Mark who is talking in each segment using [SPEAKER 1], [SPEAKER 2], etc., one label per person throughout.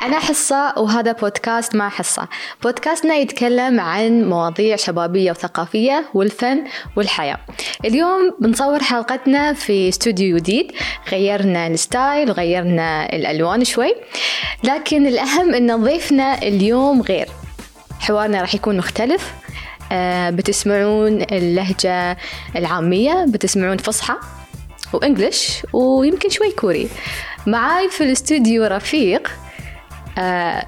[SPEAKER 1] احنا حصة وهذا بودكاست مع حصة بودكاستنا يتكلم عن مواضيع شبابية وثقافية والفن والحياة اليوم بنصور حلقتنا في استوديو جديد غيرنا الستايل وغيرنا الألوان شوي لكن الأهم أن ضيفنا اليوم غير حوارنا راح يكون مختلف آه، بتسمعون اللهجة العامية بتسمعون فصحى وإنجلش ويمكن شوي كوري معاي في الاستوديو رفيق آه،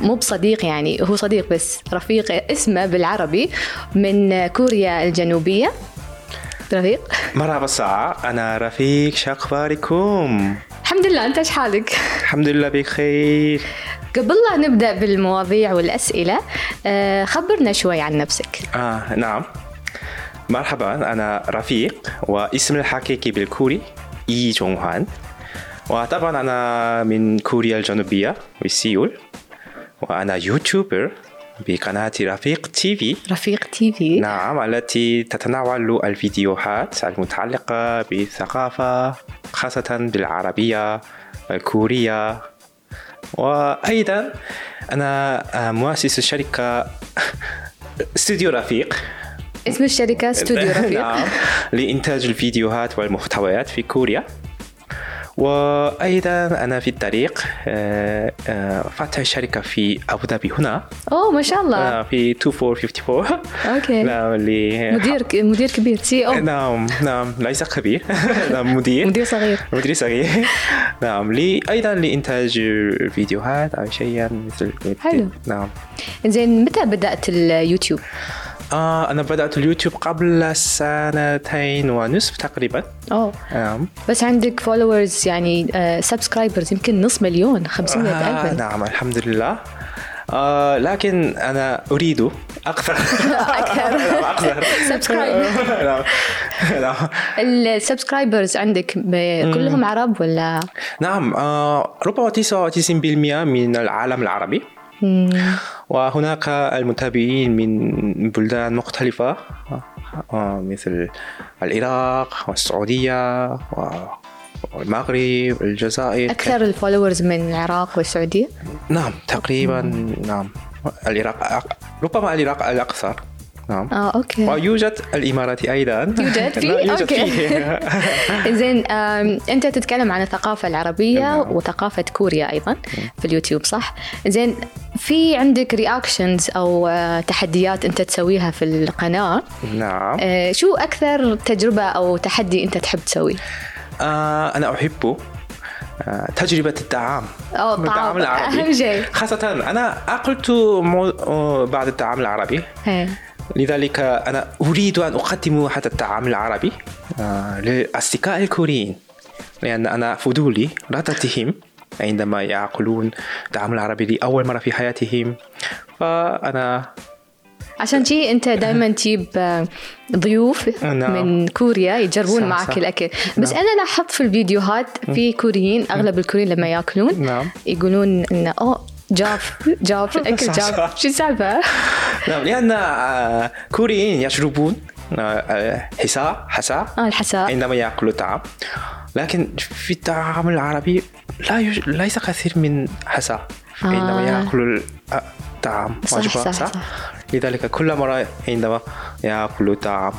[SPEAKER 1] مو بصديق يعني هو صديق بس رفيق اسمه بالعربي من كوريا الجنوبية رفيق
[SPEAKER 2] مرحبا ساعة أنا رفيق شخباركم
[SPEAKER 1] الحمد لله أنت إيش حالك؟
[SPEAKER 2] الحمد لله بخير
[SPEAKER 1] قبل لا نبدأ بالمواضيع والأسئلة آه، خبرنا شوي عن نفسك
[SPEAKER 2] آه نعم مرحبا أنا رفيق واسم الحقيقي بالكوري إيجونغهان وطبعا أنا من كوريا الجنوبية بسيول وأنا يوتيوبر بقناة رفيق تي في
[SPEAKER 1] رفيق تي في
[SPEAKER 2] نعم التي تتناول الفيديوهات المتعلقة بالثقافة خاصة بالعربية الكورية وأيضا أنا مؤسس الشركة استوديو رفيق
[SPEAKER 1] اسم الشركة استوديو رفيق
[SPEAKER 2] نعم لإنتاج الفيديوهات والمحتويات في كوريا وأيضا أنا في الطريق آه، آه، فتح شركة في أبو ظبي هنا
[SPEAKER 1] أوه ما شاء الله
[SPEAKER 2] آه، في 2454
[SPEAKER 1] أوكي
[SPEAKER 2] نعم اللي
[SPEAKER 1] مدير مدير كبير سي او
[SPEAKER 2] نعم نعم ليس كبير نعم مدير
[SPEAKER 1] مدير صغير
[SPEAKER 2] مدير صغير نعم لي أيضا لإنتاج فيديوهات أو شيئا مثل
[SPEAKER 1] حلو.
[SPEAKER 2] نعم
[SPEAKER 1] زين متى بدأت اليوتيوب؟
[SPEAKER 2] آه أنا بدأت اليوتيوب قبل سنتين ونصف تقريبا
[SPEAKER 1] أوه
[SPEAKER 2] نعم
[SPEAKER 1] بس عندك فولورز يعني سبسكرايبرز يمكن نص مليون 500
[SPEAKER 2] آه
[SPEAKER 1] ألف
[SPEAKER 2] نعم الحمد لله آه لكن أنا أريد أكثر
[SPEAKER 1] أكثر
[SPEAKER 2] نعم، أكثر
[SPEAKER 1] سبسكرايب
[SPEAKER 2] نعم نعم
[SPEAKER 1] السبسكرايبرز عندك ب- كلهم عرب ولا
[SPEAKER 2] نعم آه ربما 99% من العالم العربي
[SPEAKER 1] مم.
[SPEAKER 2] وهناك المتابعين من بلدان مختلفة آه، مثل العراق والسعودية و- والمغرب الجزائر
[SPEAKER 1] أكثر الفولورز من العراق والسعودية؟
[SPEAKER 2] نعم تقريبا نعم العراق أق- ربما العراق الأكثر نعم
[SPEAKER 1] آه أوكي
[SPEAKER 2] ويوجد الإمارات أيضا
[SPEAKER 1] يوجد فيه؟
[SPEAKER 2] نعم، يوجد
[SPEAKER 1] أوكي.
[SPEAKER 2] فيه
[SPEAKER 1] زين آم، انت تتكلم عن الثقافه العربيه
[SPEAKER 2] نعم.
[SPEAKER 1] وثقافه كوريا ايضا في اليوتيوب صح زين في عندك رياكشنز او آه، تحديات انت تسويها في القناه
[SPEAKER 2] نعم
[SPEAKER 1] آه، شو اكثر تجربه او تحدي انت تحب تسويه
[SPEAKER 2] آه أنا أحب آه تجربة الطعام
[SPEAKER 1] أو الطعام،
[SPEAKER 2] الطعام العربي
[SPEAKER 1] أهم شيء.
[SPEAKER 2] خاصة أنا أكلت مو... آه، بعض الطعام العربي
[SPEAKER 1] إيه.
[SPEAKER 2] لذلك أنا أريد أن أقدم هذا الطعام العربي آه، للأصدقاء الكوريين لأن أنا فضولي رتتهم عندما يأكلون الطعام العربي لأول مرة في حياتهم فأنا
[SPEAKER 1] عشان شي انت دائما تجيب آه، ضيوف
[SPEAKER 2] نعم.
[SPEAKER 1] من كوريا يجربون
[SPEAKER 2] صح،
[SPEAKER 1] معك
[SPEAKER 2] صح.
[SPEAKER 1] الاكل بس
[SPEAKER 2] نعم.
[SPEAKER 1] انا لاحظت في الفيديوهات في كوريين اغلب الكوريين لما ياكلون
[SPEAKER 2] نعم
[SPEAKER 1] يقولون انه اوه جاف جاف الاكل
[SPEAKER 2] صح،
[SPEAKER 1] جاف
[SPEAKER 2] صح.
[SPEAKER 1] شو السالفه؟
[SPEAKER 2] نعم لأن آه، كوريين يشربون آه، آه، حساء حساء
[SPEAKER 1] اه الحساء
[SPEAKER 2] عندما يأكل الطعام لكن في الطعام العربي لا يوجد ليس كثير من حساء
[SPEAKER 1] آه.
[SPEAKER 2] عندما يأكل الطعام
[SPEAKER 1] صح،
[SPEAKER 2] وجبة
[SPEAKER 1] صح،
[SPEAKER 2] صح,
[SPEAKER 1] صح.
[SPEAKER 2] لذلك كل مرة عندما يأكل الطعام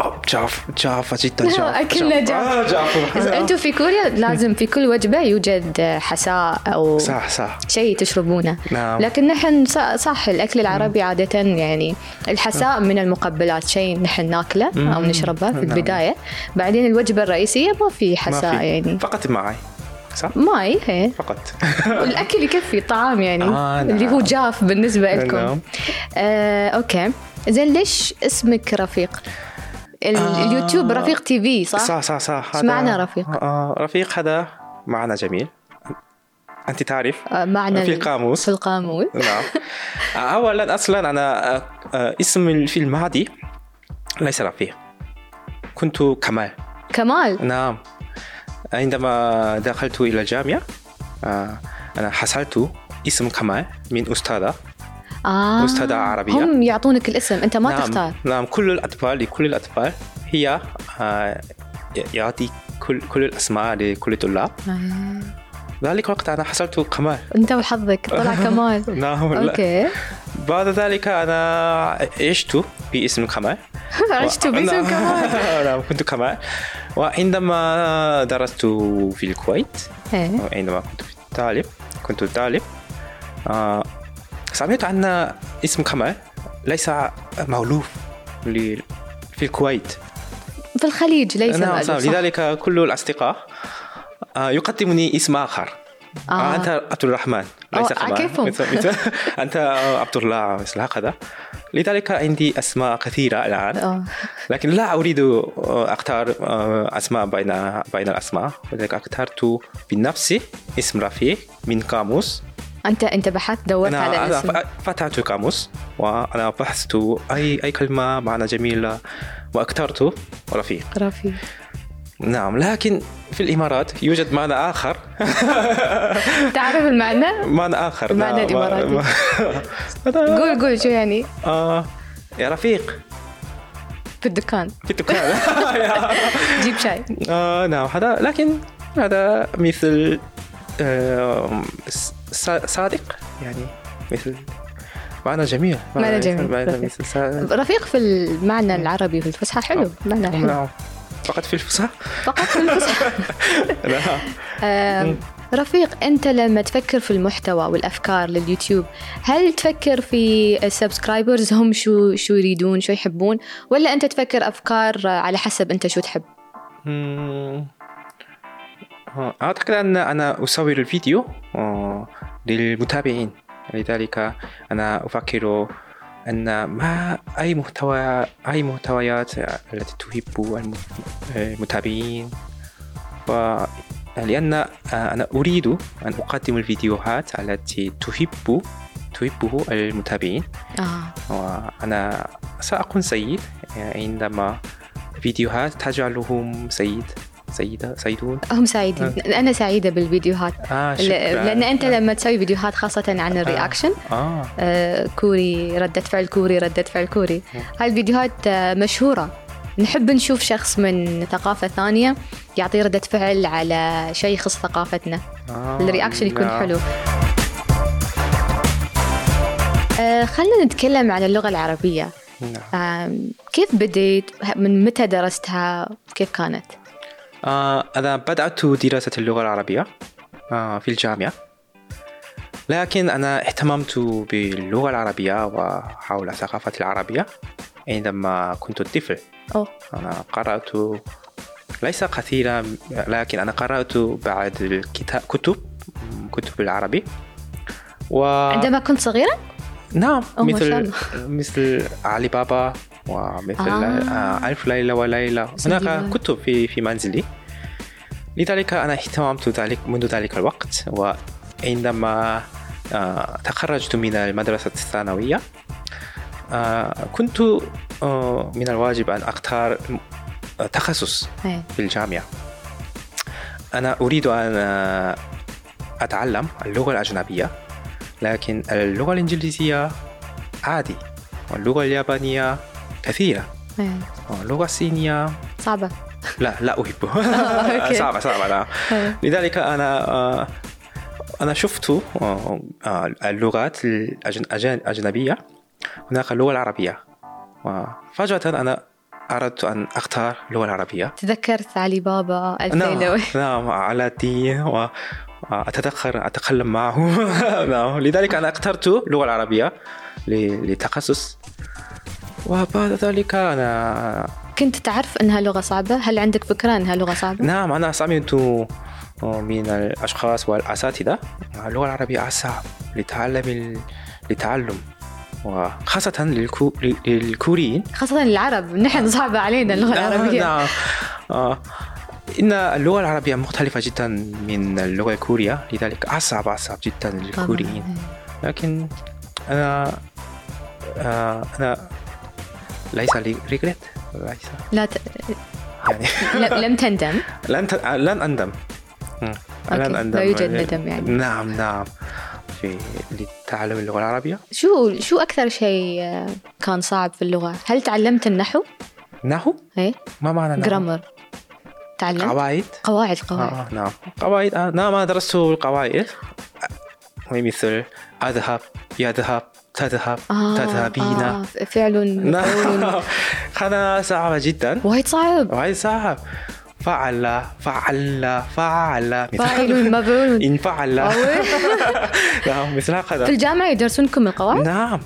[SPEAKER 2] أوه، جاف جاف جدا جاف
[SPEAKER 1] أكلنا
[SPEAKER 2] آه، جاف
[SPEAKER 1] إذا انتم في كوريا لازم في كل وجبه يوجد حساء او
[SPEAKER 2] صح صح
[SPEAKER 1] شيء تشربونه
[SPEAKER 2] نعم.
[SPEAKER 1] لكن نحن ص- صح الاكل العربي عاده يعني الحساء من المقبلات شيء نحن ناكله او نشربه في
[SPEAKER 2] نعم.
[SPEAKER 1] البدايه بعدين الوجبه الرئيسيه ما في
[SPEAKER 2] ما
[SPEAKER 1] حساء
[SPEAKER 2] في.
[SPEAKER 1] يعني
[SPEAKER 2] فقط معي صح
[SPEAKER 1] ماي هي
[SPEAKER 2] فقط
[SPEAKER 1] الاكل يكفي طعام يعني
[SPEAKER 2] آه، نعم.
[SPEAKER 1] اللي هو جاف بالنسبه لكم
[SPEAKER 2] نعم.
[SPEAKER 1] آه، اوكي زين ليش اسمك رفيق ال-
[SPEAKER 2] آه.
[SPEAKER 1] اليوتيوب رفيق تي في صح؟
[SPEAKER 2] صح صح صح
[SPEAKER 1] إيش
[SPEAKER 2] هذا-
[SPEAKER 1] معنى رفيق؟
[SPEAKER 2] آه، رفيق هذا معنى جميل أنت تعرف
[SPEAKER 1] آه، معنى
[SPEAKER 2] في
[SPEAKER 1] ال-
[SPEAKER 2] القاموس.
[SPEAKER 1] في القاموس
[SPEAKER 2] نعم اولا اصلا انا آه، آه، اسم في الماضي ليس رفيق كنت كمال
[SPEAKER 1] كمال
[SPEAKER 2] نعم عندما دخلت الى الجامعه آه، انا حصلت اسم كمال من استاذه
[SPEAKER 1] آه
[SPEAKER 2] أستاذة عربية.
[SPEAKER 1] هم يعطونك الاسم انت ما
[SPEAKER 2] نعم
[SPEAKER 1] تختار
[SPEAKER 2] نعم كل الاطفال لكل الاطفال هي آه، يعطي كل كل الاسماء لكل الطلاب
[SPEAKER 1] آه.
[SPEAKER 2] ذلك وقت أنا حصلت كمال
[SPEAKER 1] انت وحظك طلع كمال
[SPEAKER 2] نعم لا.
[SPEAKER 1] اوكي
[SPEAKER 2] بعد ذلك أنا عشت باسم كمال
[SPEAKER 1] عشت باسم
[SPEAKER 2] نعم.
[SPEAKER 1] كمال
[SPEAKER 2] نعم كنت كمال وعندما درست في الكويت
[SPEAKER 1] إيه.
[SPEAKER 2] عندما كنت في طالب كنت طالب آه، سمعت أن اسم كمال ليس مألوف ل- في الكويت
[SPEAKER 1] في الخليج ليس
[SPEAKER 2] نعم
[SPEAKER 1] مألوف،
[SPEAKER 2] صح.
[SPEAKER 1] صح؟
[SPEAKER 2] لذلك كل الأصدقاء آه، يقدمني اسم آخر
[SPEAKER 1] آه.
[SPEAKER 2] آه. أنت عبد الرحمن ليس
[SPEAKER 1] آه،
[SPEAKER 2] كمال
[SPEAKER 1] كيفهم.
[SPEAKER 2] مثل- مثل- أنت آه، عبد الله مثل هكذا لذلك عندي أسماء كثيرة الآن
[SPEAKER 1] آه.
[SPEAKER 2] لكن لا أريد آه، أختار آه، أسماء بين بين الأسماء لذلك اخترت بنفسي اسم رفيع من قاموس
[SPEAKER 1] انت انت بحثت دورت على
[SPEAKER 2] أنا
[SPEAKER 1] الاسم
[SPEAKER 2] ف- فتحت القاموس وأنا بحثت أي أي كلمة معنى جميلة واخترت رفيق
[SPEAKER 1] رفيع
[SPEAKER 2] نعم لكن في الامارات يوجد معنى اخر
[SPEAKER 1] تعرف المعنى؟
[SPEAKER 2] معنى اخر
[SPEAKER 1] المعنى
[SPEAKER 2] نعم، ما-
[SPEAKER 1] الإماراتي.
[SPEAKER 2] ما- هذا-
[SPEAKER 1] قول قول شو يعني
[SPEAKER 2] آه، يا رفيق
[SPEAKER 1] في الدكان
[SPEAKER 2] في الدكان
[SPEAKER 1] جيب شاي
[SPEAKER 2] آه، نعم هذا لكن هذا مثل آه، س- ص- صادق يعني مثل معنى جميل
[SPEAKER 1] معنى جميل.
[SPEAKER 2] معنى مثل صادق.
[SPEAKER 1] رفيق في المعنى العربي في الفصحى حلو معنى حلو
[SPEAKER 2] نعم فقط في الفصحى
[SPEAKER 1] فقط في الفصحى
[SPEAKER 2] نعم
[SPEAKER 1] آم، رفيق انت لما تفكر في المحتوى والافكار لليوتيوب هل تفكر في السبسكرايبرز هم شو شو يريدون شو يحبون ولا انت تفكر افكار على حسب انت شو تحب
[SPEAKER 2] مم. آه، أعتقد أن أنا أصور الفيديو آه، للمتابعين لذلك أنا أفكر أن ما أي محتوى أي محتويات التي تحب الم- المتابعين و لأن آه، أنا أريد أن أقدم الفيديوهات التي تحب تحبه المتابعين
[SPEAKER 1] اه
[SPEAKER 2] وأنا سأكون سيد يعني عندما فيديوهات تجعلهم سيد سيدة سيدون
[SPEAKER 1] هم سعيدين انا سعيده بالفيديوهات
[SPEAKER 2] آه
[SPEAKER 1] ل-
[SPEAKER 2] شكراً.
[SPEAKER 1] لان انت لما تسوي فيديوهات خاصه عن الرياكشن
[SPEAKER 2] آه
[SPEAKER 1] آه، كوري ردة فعل كوري ردة فعل كوري هاي الفيديوهات آه، مشهورة نحب نشوف شخص من ثقافة ثانية يعطي ردة فعل على شيء يخص ثقافتنا
[SPEAKER 2] آه،
[SPEAKER 1] الرياكشن يكون
[SPEAKER 2] نعم.
[SPEAKER 1] حلو آه، خلينا نتكلم عن اللغة العربية
[SPEAKER 2] نعم.
[SPEAKER 1] آم، كيف بديت من متى درستها كيف كانت
[SPEAKER 2] آه أنا بدأت دراسة اللغة العربية آه في الجامعة لكن أنا اهتممت باللغة العربية وحول الثقافة العربية عندما كنت طفل
[SPEAKER 1] أوه.
[SPEAKER 2] أنا قرأت ليس كثيرا لكن أنا قرأت بعض الكتاب كتب كتب العربي و
[SPEAKER 1] عندما كنت صغيرة
[SPEAKER 2] نعم
[SPEAKER 1] أوه، ما شاء
[SPEAKER 2] مثل
[SPEAKER 1] الله.
[SPEAKER 2] مثل علي بابا ومثل
[SPEAKER 1] آه.
[SPEAKER 2] آه. ألف ليلة وليلة
[SPEAKER 1] سيدي
[SPEAKER 2] هناك
[SPEAKER 1] بابا.
[SPEAKER 2] كتب في في منزلي لذلك أنا اهتممت ذلك منذ ذلك الوقت وعندما آه، تخرجت من المدرسة الثانوية آه، كنت آه، من الواجب أن أختار تخصص
[SPEAKER 1] إيه.
[SPEAKER 2] في الجامعة أنا أريد أن أتعلم اللغة الأجنبية لكن اللغة الإنجليزية عادي واللغة اليابانية كثيرة
[SPEAKER 1] إيه.
[SPEAKER 2] واللغة الصينية
[SPEAKER 1] صعبة
[SPEAKER 2] لا لا
[SPEAKER 1] أوكي.
[SPEAKER 2] أحبه صعبة صعبة لا
[SPEAKER 1] إيه.
[SPEAKER 2] لذلك أنا آه، أنا شفت آه، آه، اللغات الأجن- أجن- الأجنبية هناك اللغة العربية وفجأة أنا أردت أن أختار اللغة العربية
[SPEAKER 1] تذكرت علي بابا ألف
[SPEAKER 2] نعم
[SPEAKER 1] ليلة
[SPEAKER 2] نعم على الدين و أتذكر أتكلم معه نعم لذلك أنا اخترت اللغة العربية ل- لتخصص وبعد ذلك أنا
[SPEAKER 1] كنت تعرف انها لغه صعبه هل عندك فكره انها لغه صعبه
[SPEAKER 2] نعم أنا سمعت من الأشخاص والأساتذة اللغة العربية أصعب لتعلم ال- لتعلم وخاصة للكو... للكوريين
[SPEAKER 1] خاصه العرب نحن صعبه علينا اللغه
[SPEAKER 2] آه. نعم،
[SPEAKER 1] العربيه
[SPEAKER 2] نعم آه، إن اللغة العربية مختلفة جدا من اللغة الكورية لذلك أصعب أصعب جدا
[SPEAKER 1] طبعاً.
[SPEAKER 2] للكوريين لكن أنا آه، أنا ليس لي ريجريت ليس
[SPEAKER 1] لا, ت...
[SPEAKER 2] يعني
[SPEAKER 1] ل- لم تندم
[SPEAKER 2] لن ت... لن أندم مم.
[SPEAKER 1] أوكي، لا يوجد ندم يعني.
[SPEAKER 2] نعم نعم في لتعلم اللغة العربية
[SPEAKER 1] شو شو اكثر شيء آه، كان صعب في اللغه هل تعلمت النحو
[SPEAKER 2] نحو
[SPEAKER 1] ايه
[SPEAKER 2] ما معنى نحو؟
[SPEAKER 1] جرامر تعلمت
[SPEAKER 2] نعم. قواعد
[SPEAKER 1] قواعد قواعد
[SPEAKER 2] آه نعم قواعد آه نعم أنا درست القواعد مثل أذهب يذهب تذهب
[SPEAKER 1] آه، آه،
[SPEAKER 2] تذهبين
[SPEAKER 1] فعل
[SPEAKER 2] نعم هذا صعب جدا
[SPEAKER 1] وايد صعب
[SPEAKER 2] وهذا صعب فعل فعل فعل مثل-
[SPEAKER 1] فاعل مفعول.
[SPEAKER 2] إن فعل
[SPEAKER 1] أوي.
[SPEAKER 2] نعم مثل هكذا
[SPEAKER 1] في الجامعة يدرسونكم القواعد؟
[SPEAKER 2] نعم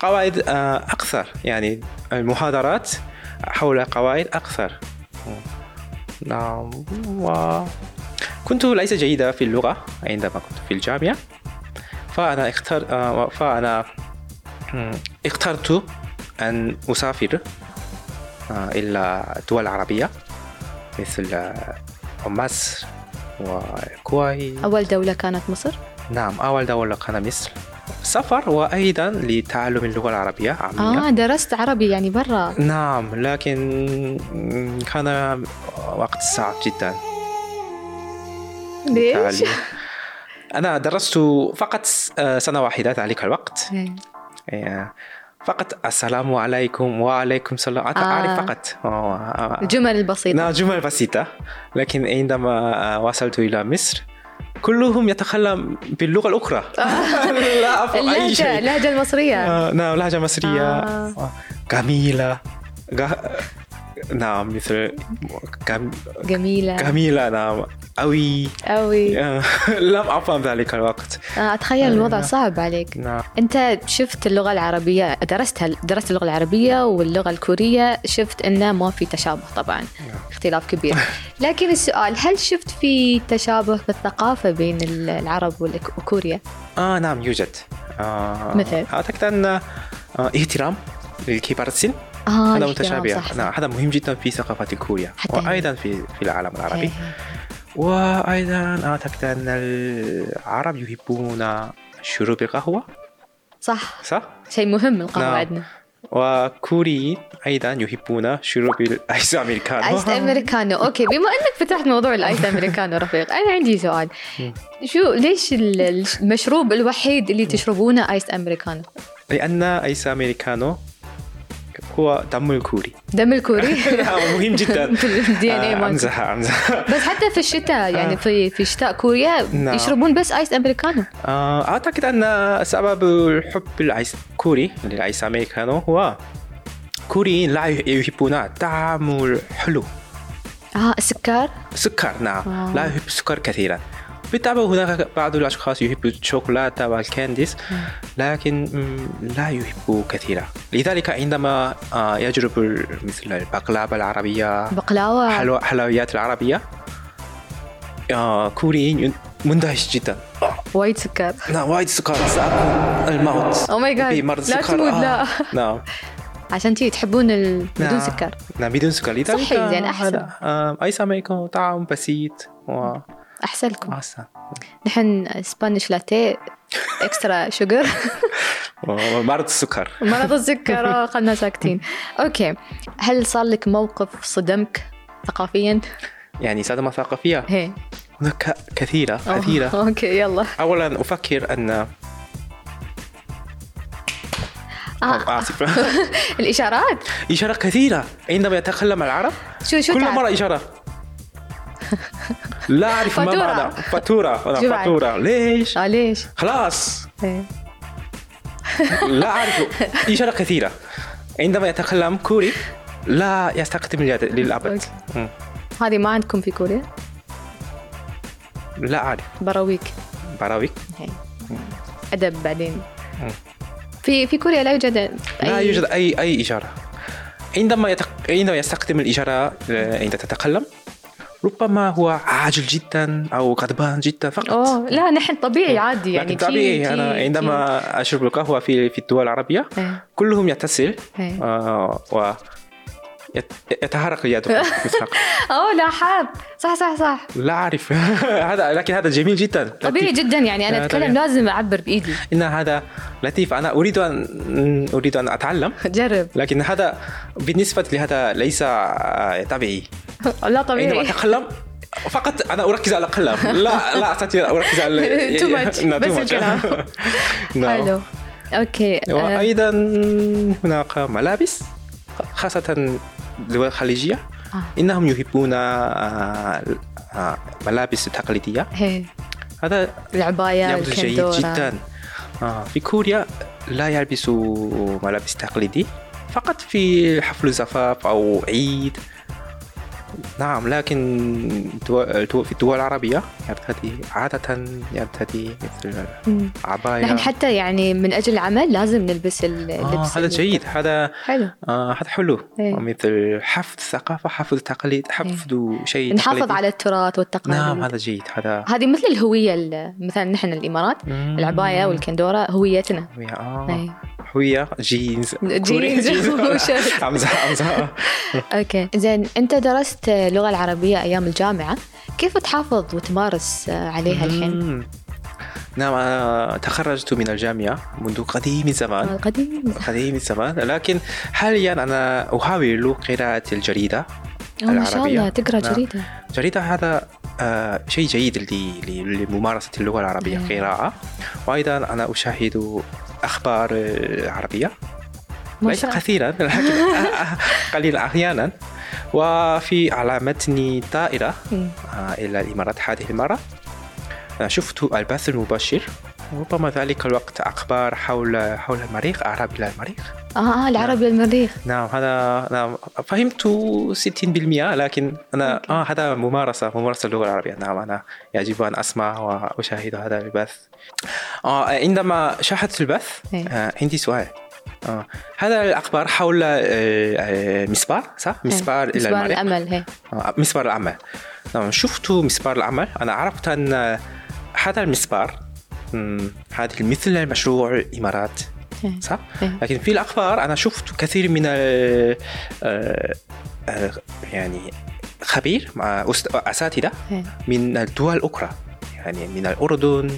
[SPEAKER 2] قواعد آه، أكثر يعني المحاضرات حول قواعد أكثر نعم و كنت ليس جيدة في اللغة عندما كنت في الجامعة فأنا اختار آه، فأنا مم، اخترت أن أسافر آه، إلى دول عربية مثل آه، مصر والكويت
[SPEAKER 1] أول دولة كانت مصر
[SPEAKER 2] نعم أول دولة كان مصر سفر وأيضا لتعلم اللغة العربية عامية
[SPEAKER 1] آه درست عربي يعني برا
[SPEAKER 2] نعم لكن كان وقت صعب جدا
[SPEAKER 1] ليش؟
[SPEAKER 2] للتعلم. أنا درست فقط آه، سنة واحدة ذلك الوقت
[SPEAKER 1] إيه.
[SPEAKER 2] آه، فقط السلام عليكم وعليكم السلام أت-
[SPEAKER 1] آه.
[SPEAKER 2] أعرف فقط آه، آه.
[SPEAKER 1] الجمل البسيطة
[SPEAKER 2] نعم جمل بسيطة لكن عندما آه، وصلت إلى مصر كلهم يتكلم باللغة الأخرى
[SPEAKER 1] آه.
[SPEAKER 2] لا أفهم أي
[SPEAKER 1] اللهجة
[SPEAKER 2] شيء
[SPEAKER 1] اللهجة المصرية
[SPEAKER 2] آه، نعم لهجة مصرية
[SPEAKER 1] آه.
[SPEAKER 2] آه، جميلة غ- نعم مثل جم-
[SPEAKER 1] جميلة
[SPEAKER 2] جميلة نعم أوي
[SPEAKER 1] أوي
[SPEAKER 2] آه، لم أفهم ذلك الوقت
[SPEAKER 1] آه، أتخيل الوضع صعب عليك
[SPEAKER 2] نعم
[SPEAKER 1] أنت شفت اللغة العربية درستها درست اللغة العربية واللغة الكورية شفت أنه ما في تشابه طبعا اختلاف كبير لكن السؤال هل شفت في تشابه في الثقافة بين العرب والك- وكوريا؟
[SPEAKER 2] آه نعم يوجد آه،
[SPEAKER 1] مثل؟
[SPEAKER 2] أعتقد أن آه، احترام لكبار السن
[SPEAKER 1] آه
[SPEAKER 2] هذا
[SPEAKER 1] الكلام
[SPEAKER 2] متشابه
[SPEAKER 1] صح
[SPEAKER 2] نعم هذا مهم جدا في ثقافة كوريا
[SPEAKER 1] حتى هنا.
[SPEAKER 2] وأيضا في في العالم العربي
[SPEAKER 1] إيه.
[SPEAKER 2] وأيضا أعتقد أن العرب يحبون شرب القهوة
[SPEAKER 1] صح
[SPEAKER 2] صح؟
[SPEAKER 1] شيء مهم القهوة
[SPEAKER 2] نعم.
[SPEAKER 1] عندنا
[SPEAKER 2] وكوريين أيضا يحبون شرب الآيس أمريكانو
[SPEAKER 1] ايس امريكانو اوكي بما انك فتحت موضوع الايس امريكانو رفيق انا عندي سؤال شو ليش ال- المشروب الوحيد اللي تشربونه ايس امريكانو
[SPEAKER 2] لأن آيس أمريكانو هو دم الكوري
[SPEAKER 1] دم الكوري
[SPEAKER 2] نعم، مهم جدا
[SPEAKER 1] في ال DNA
[SPEAKER 2] آه،
[SPEAKER 1] مالكم.
[SPEAKER 2] أمزح أمزح
[SPEAKER 1] بس حتى في الشتاء يعني
[SPEAKER 2] آه.
[SPEAKER 1] في في شتاء كوريا
[SPEAKER 2] نعم.
[SPEAKER 1] يشربون بس ايس امريكانو
[SPEAKER 2] آه، أعتقد أن سبب الحب الآيس كوري للآيس أمريكانو هو كوريين لا يحبون الطعم الحلو
[SPEAKER 1] اه السكر
[SPEAKER 2] سكر
[SPEAKER 1] آه.
[SPEAKER 2] نعم لا يحب السكر كثيرا بالطبع هناك بعض الأشخاص يحب الشوكولاتة والكانديز لكن مم، لا يحب كثيرا لذلك عندما آه، يجرب ال- مثل البقلابة العربية
[SPEAKER 1] بقلاوه
[SPEAKER 2] حلو حلويات العربية آه، كوريين مندهش جدا
[SPEAKER 1] وايد سكر
[SPEAKER 2] نعم وايد سكر سأكون الموت
[SPEAKER 1] Oh my God.
[SPEAKER 2] في مرض
[SPEAKER 1] لا
[SPEAKER 2] سكر
[SPEAKER 1] تموت،
[SPEAKER 2] آه.
[SPEAKER 1] لا.
[SPEAKER 2] نعم
[SPEAKER 1] عشان تي تحبون ال... بدون
[SPEAKER 2] نعم.
[SPEAKER 1] سكر
[SPEAKER 2] نعم بدون سكر لذلك
[SPEAKER 1] صحي، زين، أحسن.
[SPEAKER 2] هذا، آه، أيس أمريكانو طعم بسيط وأحسن
[SPEAKER 1] احسن
[SPEAKER 2] آه.
[SPEAKER 1] لكم نحن سبانيش لاتيه اكسترا شوجر
[SPEAKER 2] ومرض السكر
[SPEAKER 1] مرض السكر آه، خلنا ساكتين اوكي هل صار لك موقف صدمك ثقافيا؟
[SPEAKER 2] يعني صدمة ثقافية
[SPEAKER 1] هي
[SPEAKER 2] هناك كثيرة
[SPEAKER 1] أوه،
[SPEAKER 2] كثيرة
[SPEAKER 1] اوكي يلا
[SPEAKER 2] أولا أفكر أن
[SPEAKER 1] آه.
[SPEAKER 2] آسف
[SPEAKER 1] الاشارات
[SPEAKER 2] إشارة كثيرة عندما يتكلم العرب
[SPEAKER 1] شو شو
[SPEAKER 2] كل
[SPEAKER 1] تعرف؟
[SPEAKER 2] مرة إشارة لا أعرف ما
[SPEAKER 1] فاتورة.
[SPEAKER 2] معنى فاتورة
[SPEAKER 1] شو
[SPEAKER 2] أنا
[SPEAKER 1] بعد؟
[SPEAKER 2] فاتورة ليش
[SPEAKER 1] اه ليش؟
[SPEAKER 2] خلاص
[SPEAKER 1] إيه.
[SPEAKER 2] لا أعرف إشارة كثيرة عندما يتكلم كوري لا يستخدم اليد للأبد مم.
[SPEAKER 1] هذه ما عندكم في كوريا؟
[SPEAKER 2] لا أعرف
[SPEAKER 1] براويك
[SPEAKER 2] براوي
[SPEAKER 1] هي. ادب بعدين
[SPEAKER 2] مم.
[SPEAKER 1] في في كوريا لا يوجد
[SPEAKER 2] لا
[SPEAKER 1] أي-
[SPEAKER 2] يوجد أي أي إشارة عندما يتق... عندما يستخدم الإشارة آه، عند تتكلم ربما هو عاجل جدا أو غضبان جدا فقط
[SPEAKER 1] اوه لا نحن طبيعي عادي يعني
[SPEAKER 2] لكن
[SPEAKER 1] تي-
[SPEAKER 2] طبيعي
[SPEAKER 1] تي-
[SPEAKER 2] أنا
[SPEAKER 1] تي-
[SPEAKER 2] عندما أشرب القهوة في في الدول العربية
[SPEAKER 1] إيه.
[SPEAKER 2] كلهم يتصل
[SPEAKER 1] إيه.
[SPEAKER 2] آه، و يت- يتحرك يده مثل هكذا.
[SPEAKER 1] اوه لاحظ صح صح صح
[SPEAKER 2] لا أعرف هذا لكن هذا جميل جدا
[SPEAKER 1] طبيعي
[SPEAKER 2] لطيف.
[SPEAKER 1] جدا يعني انا
[SPEAKER 2] آه،
[SPEAKER 1] اتكلم
[SPEAKER 2] طبيعي.
[SPEAKER 1] لازم اعبر بايدي
[SPEAKER 2] إن هذا لطيف أنا أريد أن أريد أن أتعلم
[SPEAKER 1] جرب
[SPEAKER 2] لكن هذا بالنسبة لهذا ليس آه، طبيعي
[SPEAKER 1] لا
[SPEAKER 2] عندما
[SPEAKER 1] طبيعي
[SPEAKER 2] أتكلم فقط أنا أركز على القلم لا لا أستطيع أن أركز على
[SPEAKER 1] Too much.
[SPEAKER 2] نعم،
[SPEAKER 1] بس
[SPEAKER 2] too much.
[SPEAKER 1] الكلام.
[SPEAKER 2] نعم.
[SPEAKER 1] حلو اوكي آه،
[SPEAKER 2] وأيضا هناك ملابس خاصة الدول الخليجية إنهم يحبون آه، آه، ملابس تقليدية
[SPEAKER 1] هي.
[SPEAKER 2] هذا
[SPEAKER 1] العباية
[SPEAKER 2] يبدو جيد
[SPEAKER 1] الكندورة
[SPEAKER 2] جدا آه، في كوريا لا يلبسوا ملابس تقليدي فقط في حفل زفاف أو عيد نعم لكن دو- دو- في الدول العربية يرتدي عادة يرتدي مثل
[SPEAKER 1] مم.
[SPEAKER 2] عباية
[SPEAKER 1] نحن حتى يعني من أجل العمل لازم نلبس ال-
[SPEAKER 2] آه
[SPEAKER 1] اللبس
[SPEAKER 2] هذا
[SPEAKER 1] ال-
[SPEAKER 2] جيد هذا
[SPEAKER 1] حلو
[SPEAKER 2] آه هذا حلو
[SPEAKER 1] إيه.
[SPEAKER 2] مثل حفظ ثقافة حفظ تقليد حفظ شيء
[SPEAKER 1] إيه. نحافظ
[SPEAKER 2] تقليدي.
[SPEAKER 1] على التراث والتقاليد
[SPEAKER 2] نعم هذا جيد هذا
[SPEAKER 1] هذه مثل الهوية ال- مثلا نحن الإمارات
[SPEAKER 2] مم.
[SPEAKER 1] العباية والكندورة هويتنا
[SPEAKER 2] هوية آه
[SPEAKER 1] إيه.
[SPEAKER 2] هوية جينز
[SPEAKER 1] جينز
[SPEAKER 2] كوري-
[SPEAKER 1] وشورت.
[SPEAKER 2] أمزح أمزح
[SPEAKER 1] اوكي زين انت درست اللغه العربيه ايام الجامعه كيف تحافظ وتمارس عليها الحين
[SPEAKER 2] مم. نعم أنا تخرجت من الجامعة منذ قديم الزمان
[SPEAKER 1] القديم
[SPEAKER 2] قديم الزمان لكن حاليا أنا أحاول قراءة الجريدة
[SPEAKER 1] أو ما شاء
[SPEAKER 2] العربية.
[SPEAKER 1] الله تقرا
[SPEAKER 2] نعم.
[SPEAKER 1] جريده
[SPEAKER 2] جريدة هذا آه، شيء جيد ل- ل- لممارسة اللغة العربية
[SPEAKER 1] نعم.
[SPEAKER 2] قراءة وأيضا أنا أشاهد أخبار آه، عربية
[SPEAKER 1] ما
[SPEAKER 2] ليس
[SPEAKER 1] شاء الله
[SPEAKER 2] كثيرا لكن قليلا أحيانا وفي على متن طائرة
[SPEAKER 1] مم.
[SPEAKER 2] آه، إلى الإمارات هذه المرة آه، شفت البث المباشر ربما ذلك الوقت أخبار حول حول المريخ أعراب إلى المريخ
[SPEAKER 1] اه العربي المريخ
[SPEAKER 2] نعم هذا نعم فهمت 60% لكن انا اه هذا ممارسه ممارسه اللغه العربيه نعم انا يجب ان اسمع واشاهد هذا البث آه عندما شاهدت البث
[SPEAKER 1] إيه.
[SPEAKER 2] آه عندي سؤال آه هذا الاخبار حول آه، آه، مسبار صح؟ مسبار الى
[SPEAKER 1] إيه. مسبار
[SPEAKER 2] المريخ
[SPEAKER 1] الامل هي
[SPEAKER 2] آه، مسبار العمل نعم شفت مسبار العمل أنا عرفت أن هذا المسبار مم، هذا مثل المشروع الإمارات
[SPEAKER 1] إيه.
[SPEAKER 2] صح؟
[SPEAKER 1] إيه.
[SPEAKER 2] لكن في الأخبار أنا شفت كثير من ال- آه، آه، يعني خبير مع أست- أساتذة
[SPEAKER 1] إيه.
[SPEAKER 2] من الدول الأخرى يعني من الأردن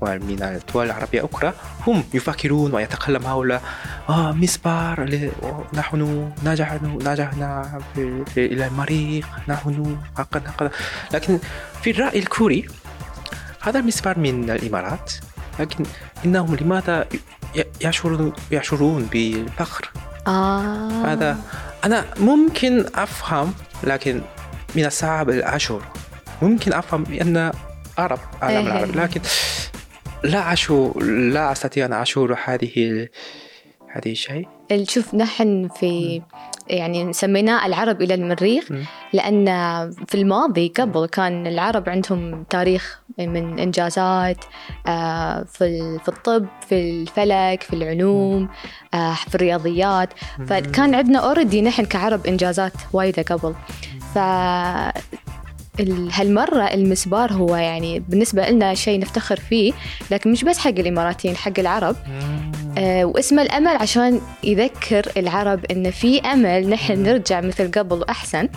[SPEAKER 2] ومن الدول العربية الأخرى هم يفكرون ويتكلم حول آه مسبار ل- نحن نجحنا نجحنا في- في- إلى المريخ نحن هكذا هكذا لكن في الرأي الكوري هذا المسبار من الإمارات لكن إنهم لماذا ي- يشعرون يشعرون بالفخر
[SPEAKER 1] اه
[SPEAKER 2] هذا أنا ممكن أفهم لكن من الصعب الأشعر ممكن أفهم بأن عرب عالم
[SPEAKER 1] إيه.
[SPEAKER 2] العرب لكن لا أشعر لا أستطيع أن أشعر هذه ال- هذه الشيء
[SPEAKER 1] ال- شوف نحن في يعني سميناه العرب الى المريخ
[SPEAKER 2] مم.
[SPEAKER 1] لان في الماضي قبل كان العرب عندهم تاريخ من انجازات آه، في ال- في الطب في الفلك في العلوم آه، في الرياضيات فكان عندنا اوريدي نحن كعرب انجازات وايده قبل ف ال- هالمرة المسبار هو يعني بالنسبة لنا شيء نفتخر فيه لكن مش بس حق الإماراتيين حق العرب آه، واسمه الامل عشان يذكر العرب ان في امل نحن نرجع مثل قبل واحسن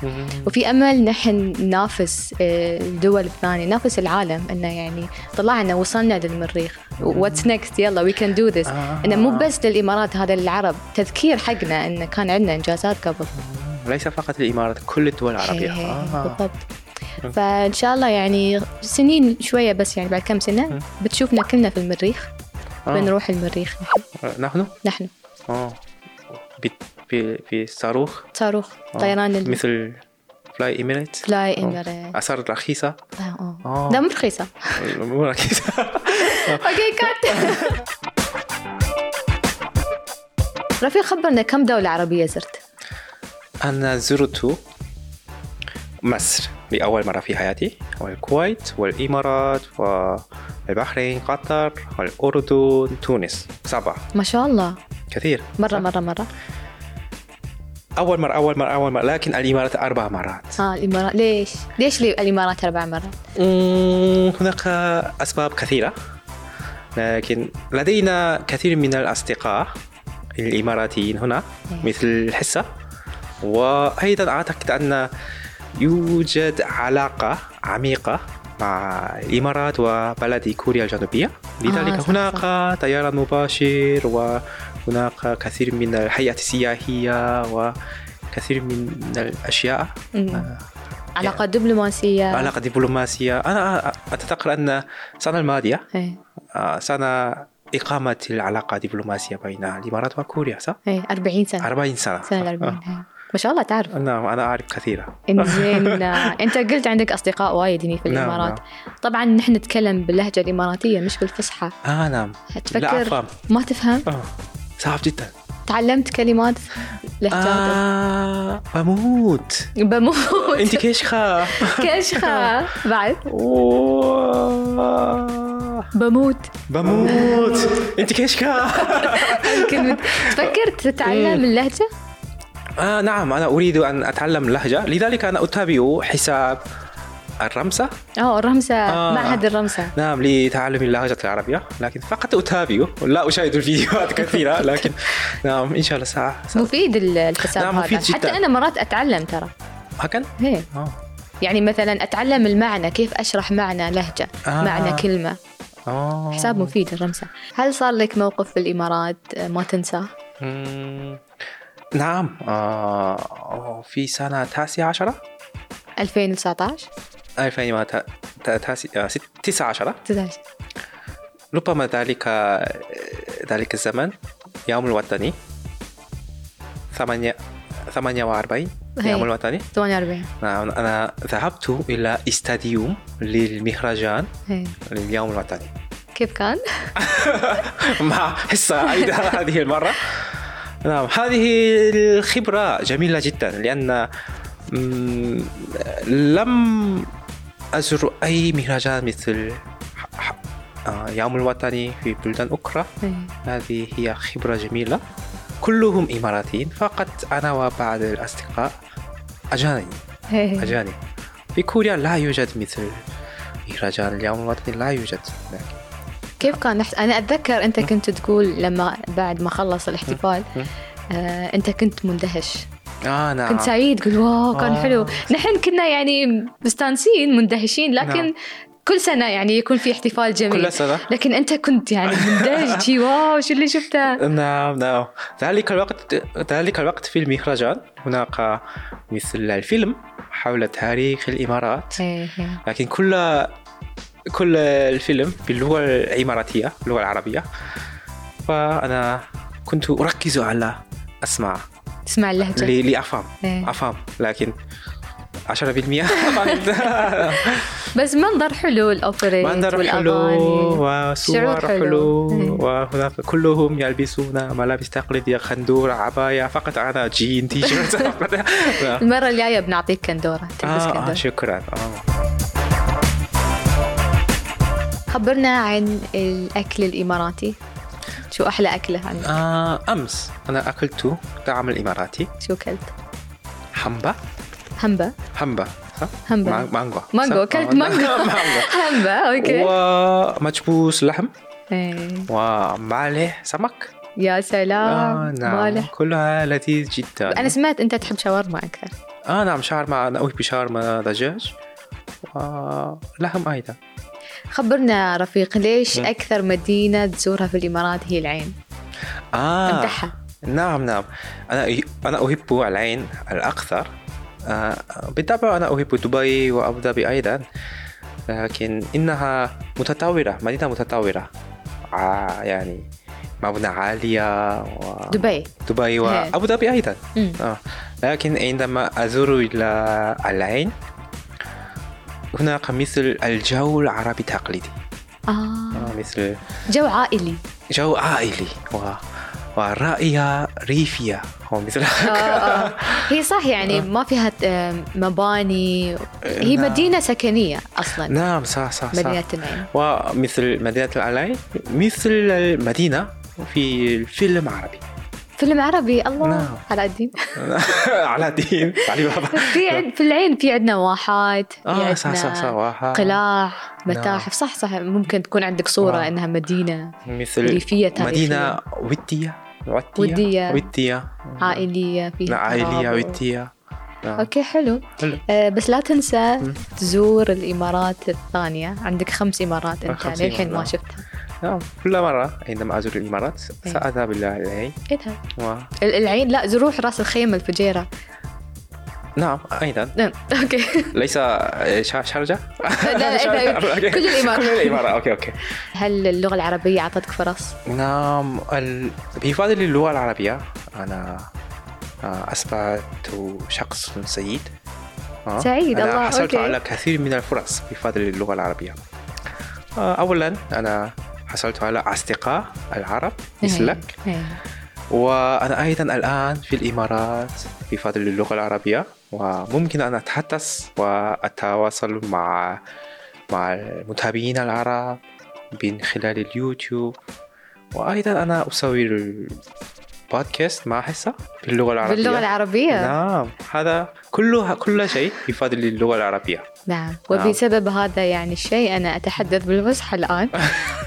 [SPEAKER 1] وفي امل نحن ننافس آه، الدول الثانيه ننافس العالم انه يعني طلعنا وصلنا للمريخ واتس نيكست يلا وي كان دو ذس
[SPEAKER 2] آه.
[SPEAKER 1] انه مو بس للامارات هذا للعرب تذكير حقنا انه كان عندنا انجازات قبل
[SPEAKER 2] ليس فقط الإمارات كل الدول العربية
[SPEAKER 1] إيه،
[SPEAKER 2] آه.
[SPEAKER 1] بالضبط فان شاء الله يعني سنين شويه بس يعني بعد كم سنه بتشوفنا كلنا في المريخ
[SPEAKER 2] آه.
[SPEAKER 1] بنروح المريخ نحن
[SPEAKER 2] نحن
[SPEAKER 1] نحن
[SPEAKER 2] آه. ب- ب- بصاروخ
[SPEAKER 1] صاروخ
[SPEAKER 2] آه.
[SPEAKER 1] طيران ال-
[SPEAKER 2] مثل فلاي إميريت
[SPEAKER 1] فلاي إميريت.
[SPEAKER 2] أسعار رخيصة
[SPEAKER 1] آه،
[SPEAKER 2] آه.
[SPEAKER 1] آه. لا مو رخيصة
[SPEAKER 2] مو رخيصة
[SPEAKER 1] اوكي كات رفيق خبرنا كم دولة عربية زرت؟
[SPEAKER 2] أنا زرت مصر لأول مرة في حياتي والكويت والإمارات والبحرين قطر والأردن تونس سبعة
[SPEAKER 1] ما شاء الله
[SPEAKER 2] كثير
[SPEAKER 1] مرة مرة مرة
[SPEAKER 2] أول مرة أول مرة أول مرة لكن الإمارات أربع مرات
[SPEAKER 1] اه الامارات ليش؟ ليش لي الامارات اربع مرات؟
[SPEAKER 2] مم، هناك أسباب كثيرة لكن لدينا كثير من الأصدقاء الإماراتيين هنا
[SPEAKER 1] إيه.
[SPEAKER 2] مثل الحصة وأيضا أعتقد أن يوجد علاقة عميقة مع الإمارات وبلد كوريا الجنوبية لذلك
[SPEAKER 1] آه، صح،
[SPEAKER 2] هناك طيران مباشر وهناك كثير من الحياة السياحية وكثير من الأشياء
[SPEAKER 1] مم.
[SPEAKER 2] يعني
[SPEAKER 1] علاقة آه، دبلوماسية
[SPEAKER 2] علاقة دبلوماسية أنا أتذكر أن السنة الماضية
[SPEAKER 1] ايه
[SPEAKER 2] آه، سنة إقامة العلاقة الدبلوماسية بين الإمارات وكوريا صح؟
[SPEAKER 1] ايه 40 سنة
[SPEAKER 2] 40 سنة
[SPEAKER 1] سنة
[SPEAKER 2] آه.
[SPEAKER 1] 40 إيه. ما شاء الله تعرف
[SPEAKER 2] نعم أنا أعرف كثيرا
[SPEAKER 1] انزين انت قلت عندك اصدقاء وايد هنا في
[SPEAKER 2] نعم،
[SPEAKER 1] الامارات طبعا نحن نتكلم باللهجه الاماراتيه مش بالفصحى
[SPEAKER 2] آه نعم لا
[SPEAKER 1] تفكر
[SPEAKER 2] أفهم
[SPEAKER 1] ما تفهم
[SPEAKER 2] آه صعب جدا
[SPEAKER 1] تعلمت كلمات لهجات
[SPEAKER 2] آه بموت
[SPEAKER 1] بموت
[SPEAKER 2] أنت كشخة
[SPEAKER 1] كشخة بعد
[SPEAKER 2] أوه.
[SPEAKER 1] بموت
[SPEAKER 2] بموت أنت كشخة
[SPEAKER 1] الكلمة تفكر
[SPEAKER 2] إيه.
[SPEAKER 1] تتعلم اللهجة
[SPEAKER 2] آه نعم أنا أريد أن أتعلم لهجة لذلك أنا أتابع حساب الرمسة
[SPEAKER 1] اه الرمسة
[SPEAKER 2] آه.
[SPEAKER 1] معهد الرمسة
[SPEAKER 2] نعم لتعلم اللهجة العربية لكن فقط أتابع لا أشاهد الفيديوهات كثيرة لكن نعم إن شاء الله ساعة ساعة.
[SPEAKER 1] مفيد ال- الحساب
[SPEAKER 2] نعم،
[SPEAKER 1] هذا
[SPEAKER 2] مفيد جداً.
[SPEAKER 1] حتى انا مرات اتعلم ترى
[SPEAKER 2] هكذا
[SPEAKER 1] هي
[SPEAKER 2] آه.
[SPEAKER 1] يعني مثلا اتعلم المعنى كيف اشرح معنى لهجة
[SPEAKER 2] آه.
[SPEAKER 1] معنى كلمة
[SPEAKER 2] آه.
[SPEAKER 1] حساب مفيد الرمسة هل صار لك موقف في الامارات ما تنساه
[SPEAKER 2] آه. مم. نعم آه. في سنة تاسعة عشرة
[SPEAKER 1] 2019
[SPEAKER 2] 2000 ما تا- تا- تاسع- آه، ست- تسعة عشرة
[SPEAKER 1] تزعج.
[SPEAKER 2] ربما ذلك آه، ذلك الزمن يوم الوطني ثمانية ثمانية وأربعين
[SPEAKER 1] هي.
[SPEAKER 2] يوم الوطني
[SPEAKER 1] 48
[SPEAKER 2] نعم أنا ذهبت إلى استاديوم للمهرجان
[SPEAKER 1] هي.
[SPEAKER 2] لليوم الوطني
[SPEAKER 1] إيه. كيف كان؟
[SPEAKER 2] مع حصة أيضا هذه المرة نعم هذه الخبرة جميلة جدا لأن مم، لم أزر أي مهرجان مثل ح- ح- آه، يوم الوطني في بلدان أخرى
[SPEAKER 1] هي.
[SPEAKER 2] هذه هي خبرة جميلة كلهم إماراتيين فقط أنا وبعض الأصدقاء أجانب
[SPEAKER 1] هي.
[SPEAKER 2] أجانب في كوريا لا يوجد مثل مهرجان اليوم الوطني لا يوجد
[SPEAKER 1] كيف كان نحس... انا اتذكر انت كنت تقول لما بعد ما خلص الاحتفال
[SPEAKER 2] مم.
[SPEAKER 1] آه، انت كنت مندهش
[SPEAKER 2] آه نعم
[SPEAKER 1] كنت سعيد تقول واو كان
[SPEAKER 2] آه.
[SPEAKER 1] حلو نحن كنا يعني مستانسين مندهشين لكن
[SPEAKER 2] نعم.
[SPEAKER 1] كل سنة يعني يكون في احتفال جميل
[SPEAKER 2] كل سنة.
[SPEAKER 1] لكن أنت كنت يعني مندهش شي واو شو اللي شفته
[SPEAKER 2] نعم نعم ذلك الوقت ذلك الوقت في المهرجان هناك مثل الفيلم حول تاريخ الإمارات
[SPEAKER 1] إيه، إيه.
[SPEAKER 2] لكن كل كل الفيلم باللغة الإماراتية اللغة العربية فأنا كنت أركز على أسمع
[SPEAKER 1] تسمع اللهجة
[SPEAKER 2] لي- لأفهم
[SPEAKER 1] إيه.
[SPEAKER 2] أفهم لكن 10% فهمت.
[SPEAKER 1] بس منظر حلو الأوبريت
[SPEAKER 2] منظر حلو
[SPEAKER 1] والأغاني شعور
[SPEAKER 2] وصور
[SPEAKER 1] حلو.
[SPEAKER 2] حلو
[SPEAKER 1] إيه.
[SPEAKER 2] وهناك كلهم يلبسون ملابس تقليدية خندور عباية فقط أنا جين تي شيرت آه،
[SPEAKER 1] المرة الجاية بنعطيك كندورة تلبس
[SPEAKER 2] آه،
[SPEAKER 1] كندورة
[SPEAKER 2] شكرا آه.
[SPEAKER 1] خبرنا عن الأكل الإماراتي شو أحلى أكلة عندك
[SPEAKER 2] آه، أمس أنا أكلت طعام الإماراتي
[SPEAKER 1] شو أكلت
[SPEAKER 2] حمبة
[SPEAKER 1] همبة
[SPEAKER 2] حمبة صح؟
[SPEAKER 1] حمبة.
[SPEAKER 2] ما- مانجو
[SPEAKER 1] مانجو،
[SPEAKER 2] صح؟
[SPEAKER 1] أكلت
[SPEAKER 2] آه،
[SPEAKER 1] مانجو.
[SPEAKER 2] مانجو
[SPEAKER 1] همبة أوكي
[SPEAKER 2] ومجبوس لحم
[SPEAKER 1] إيه.
[SPEAKER 2] ومالح سمك
[SPEAKER 1] يا
[SPEAKER 2] آه،
[SPEAKER 1] سلام
[SPEAKER 2] نعم.
[SPEAKER 1] مالح
[SPEAKER 2] كلها لذيذ جدا
[SPEAKER 1] انا سمعت انت تحب شاورما اكثر
[SPEAKER 2] اه نعم شاورما انا احب شاورما دجاج ولحم ايضا
[SPEAKER 1] خبرنا رفيق ليش
[SPEAKER 2] مم.
[SPEAKER 1] اكثر مدينه تزورها في الامارات هي العين
[SPEAKER 2] اه
[SPEAKER 1] امدحها
[SPEAKER 2] نعم نعم انا انا احب العين الاكثر آه بالطبع انا احب دبي وابو ظبي ايضا لكن انها متطوره مدينه متطوره آه يعني مبنى عاليه و...
[SPEAKER 1] دبي
[SPEAKER 2] دبي وابو ظبي ايضا
[SPEAKER 1] مم.
[SPEAKER 2] آه. لكن عندما ازور الى العين هناك مثل الجو العربي التقليدي
[SPEAKER 1] اه
[SPEAKER 2] آه، مثل
[SPEAKER 1] جو عائلي
[SPEAKER 2] جو عائلي و... ورائية ريفية أو مثل
[SPEAKER 1] آه، آه. هي صح يعني ما فيها آم، مباني هي
[SPEAKER 2] آه. نعم.
[SPEAKER 1] مدينه سكنيه اصلا
[SPEAKER 2] نعم صح صح صح
[SPEAKER 1] مدينه العين
[SPEAKER 2] ومثل مدينة العين مثل المدينة في الفيلم العربي
[SPEAKER 1] فيلم عربي الله
[SPEAKER 2] نعم.
[SPEAKER 1] على الدين
[SPEAKER 2] على دين علي بابا
[SPEAKER 1] في عند في العين في عندنا واحات في
[SPEAKER 2] اه صح صح
[SPEAKER 1] عندنا
[SPEAKER 2] صح وها-
[SPEAKER 1] قلاع
[SPEAKER 2] نعم.
[SPEAKER 1] متاحف صح صح ممكن تكون عندك صوره
[SPEAKER 2] نعم.
[SPEAKER 1] انها مدينه
[SPEAKER 2] مثل
[SPEAKER 1] ريفية تاريخية.
[SPEAKER 2] مدينة ودية
[SPEAKER 1] ودية.
[SPEAKER 2] ودية
[SPEAKER 1] عائلية فيها
[SPEAKER 2] نعم. لا، عائلية
[SPEAKER 1] ترابط.
[SPEAKER 2] ودية نعم.
[SPEAKER 1] أوكي حلو
[SPEAKER 2] حلو.
[SPEAKER 1] آه، بس لا تنسى تزور الإمارات الثانية عندك خمس إمارات أنت
[SPEAKER 2] خمس
[SPEAKER 1] للحين ما
[SPEAKER 2] إمارات.
[SPEAKER 1] شفتها
[SPEAKER 2] نعم كل مرة عندما أزور الإمارات
[SPEAKER 1] إيه.
[SPEAKER 2] سأذهب إلى العين
[SPEAKER 1] اذهب
[SPEAKER 2] و...
[SPEAKER 1] إيه ال- العين لا روح راس الخيمة الفجيرة
[SPEAKER 2] نعم أيضا
[SPEAKER 1] نعم، أوكي
[SPEAKER 2] ليس آه، شا- شارجة
[SPEAKER 1] لا،
[SPEAKER 2] شارجة.
[SPEAKER 1] إذا-
[SPEAKER 2] أوكي.
[SPEAKER 1] كل الإمارات.
[SPEAKER 2] كل الإمارات أوكي أوكي
[SPEAKER 1] هل اللغة العربية أعطتك فرص؟
[SPEAKER 2] نعم ال... بفضل اللغة العربية أنا آه، أصبحت شخص سعيد آه،
[SPEAKER 1] سعيد،
[SPEAKER 2] أنا
[SPEAKER 1] الله،
[SPEAKER 2] حصلت
[SPEAKER 1] أوكي.
[SPEAKER 2] على كثير من الفرص بفضل اللغة العربية آه، أولا أنا حصلت على أصدقاء العرب مثلك
[SPEAKER 1] إيه.
[SPEAKER 2] وأنا أيضا الآن في الإمارات بفضل اللغة العربية وممكن أن أتحدث وأتواصل مع مع المتابعين العرب من خلال اليوتيوب وأيضا أنا أصور بودكاست مع حصة باللغة العربية
[SPEAKER 1] باللغة العربية
[SPEAKER 2] نعم هذا كله كل شيء بفضل اللغة العربية
[SPEAKER 1] نعم
[SPEAKER 2] نعم.
[SPEAKER 1] وبسبب هذا يعني الشيء أنا أتحدث بالفصحى الآن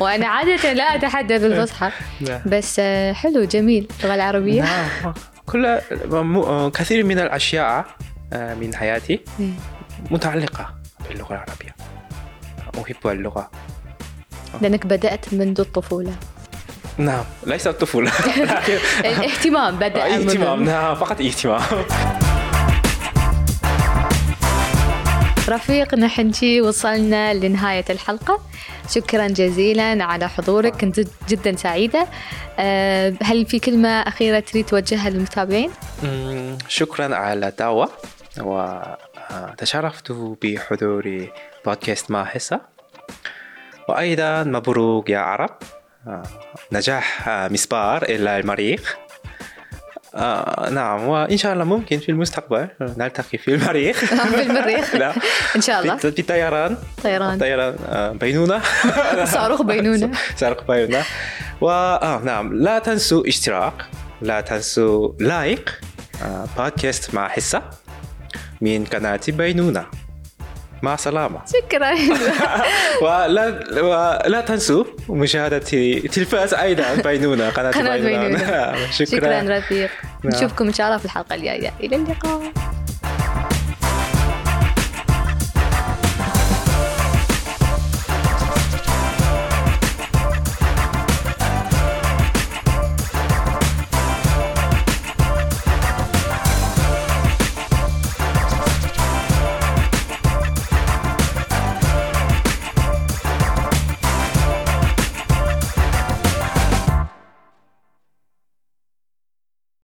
[SPEAKER 1] وأنا عادة لا أتحدث بالفصحى
[SPEAKER 2] نعم
[SPEAKER 1] بس آه، حلو جميل اللغة العربية
[SPEAKER 2] نعم. كل م- كثير من الأشياء آه، من حياتي
[SPEAKER 1] إيه.
[SPEAKER 2] متعلقة باللغة العربية أحب اللغة
[SPEAKER 1] لأنك بدأت منذ الطفولة
[SPEAKER 2] نعم ليس الطفولة
[SPEAKER 1] الاهتمام بدأ
[SPEAKER 2] أي
[SPEAKER 1] منذ-
[SPEAKER 2] اهتمام نعم فقط اهتمام
[SPEAKER 1] رفيق نحن شي وصلنا لنهاية الحلقة شكرا جزيلا على حضورك كنت جدا سعيدة آه، هل في كلمة أخيرة تريد توجهها للمتابعين؟
[SPEAKER 2] أمم، شكرا على الدعوة وتشرفت بحضور بودكاست مع حصة وأيضا مبروك يا عرب آه، نجاح آه، مسبار إلى المريخ آه، نعم وإن شاء الله ممكن في المستقبل نلتقي في المريخ
[SPEAKER 1] في المريخ.
[SPEAKER 2] لا
[SPEAKER 1] إن شاء الله
[SPEAKER 2] في في الطيران
[SPEAKER 1] طيران
[SPEAKER 2] الطيران آه، بينونة
[SPEAKER 1] صاروخ بينونة
[SPEAKER 2] صاروخ بينونة و آه نعم لا تنسوا اشتراك لا تنسوا لايك آه، بودكاست مع حصة من قناة بينونة مع سلامة
[SPEAKER 1] شكرا
[SPEAKER 2] ولا ولا تنسوا مشاهدة تلفاز أيضا بينونة قناة
[SPEAKER 1] قناة
[SPEAKER 2] بينونة
[SPEAKER 1] بينونة.
[SPEAKER 2] شكرا نعم.
[SPEAKER 1] شكرا رفيق نشوفكم إن شاء الله في الحلقة الجاية إلى اللقاء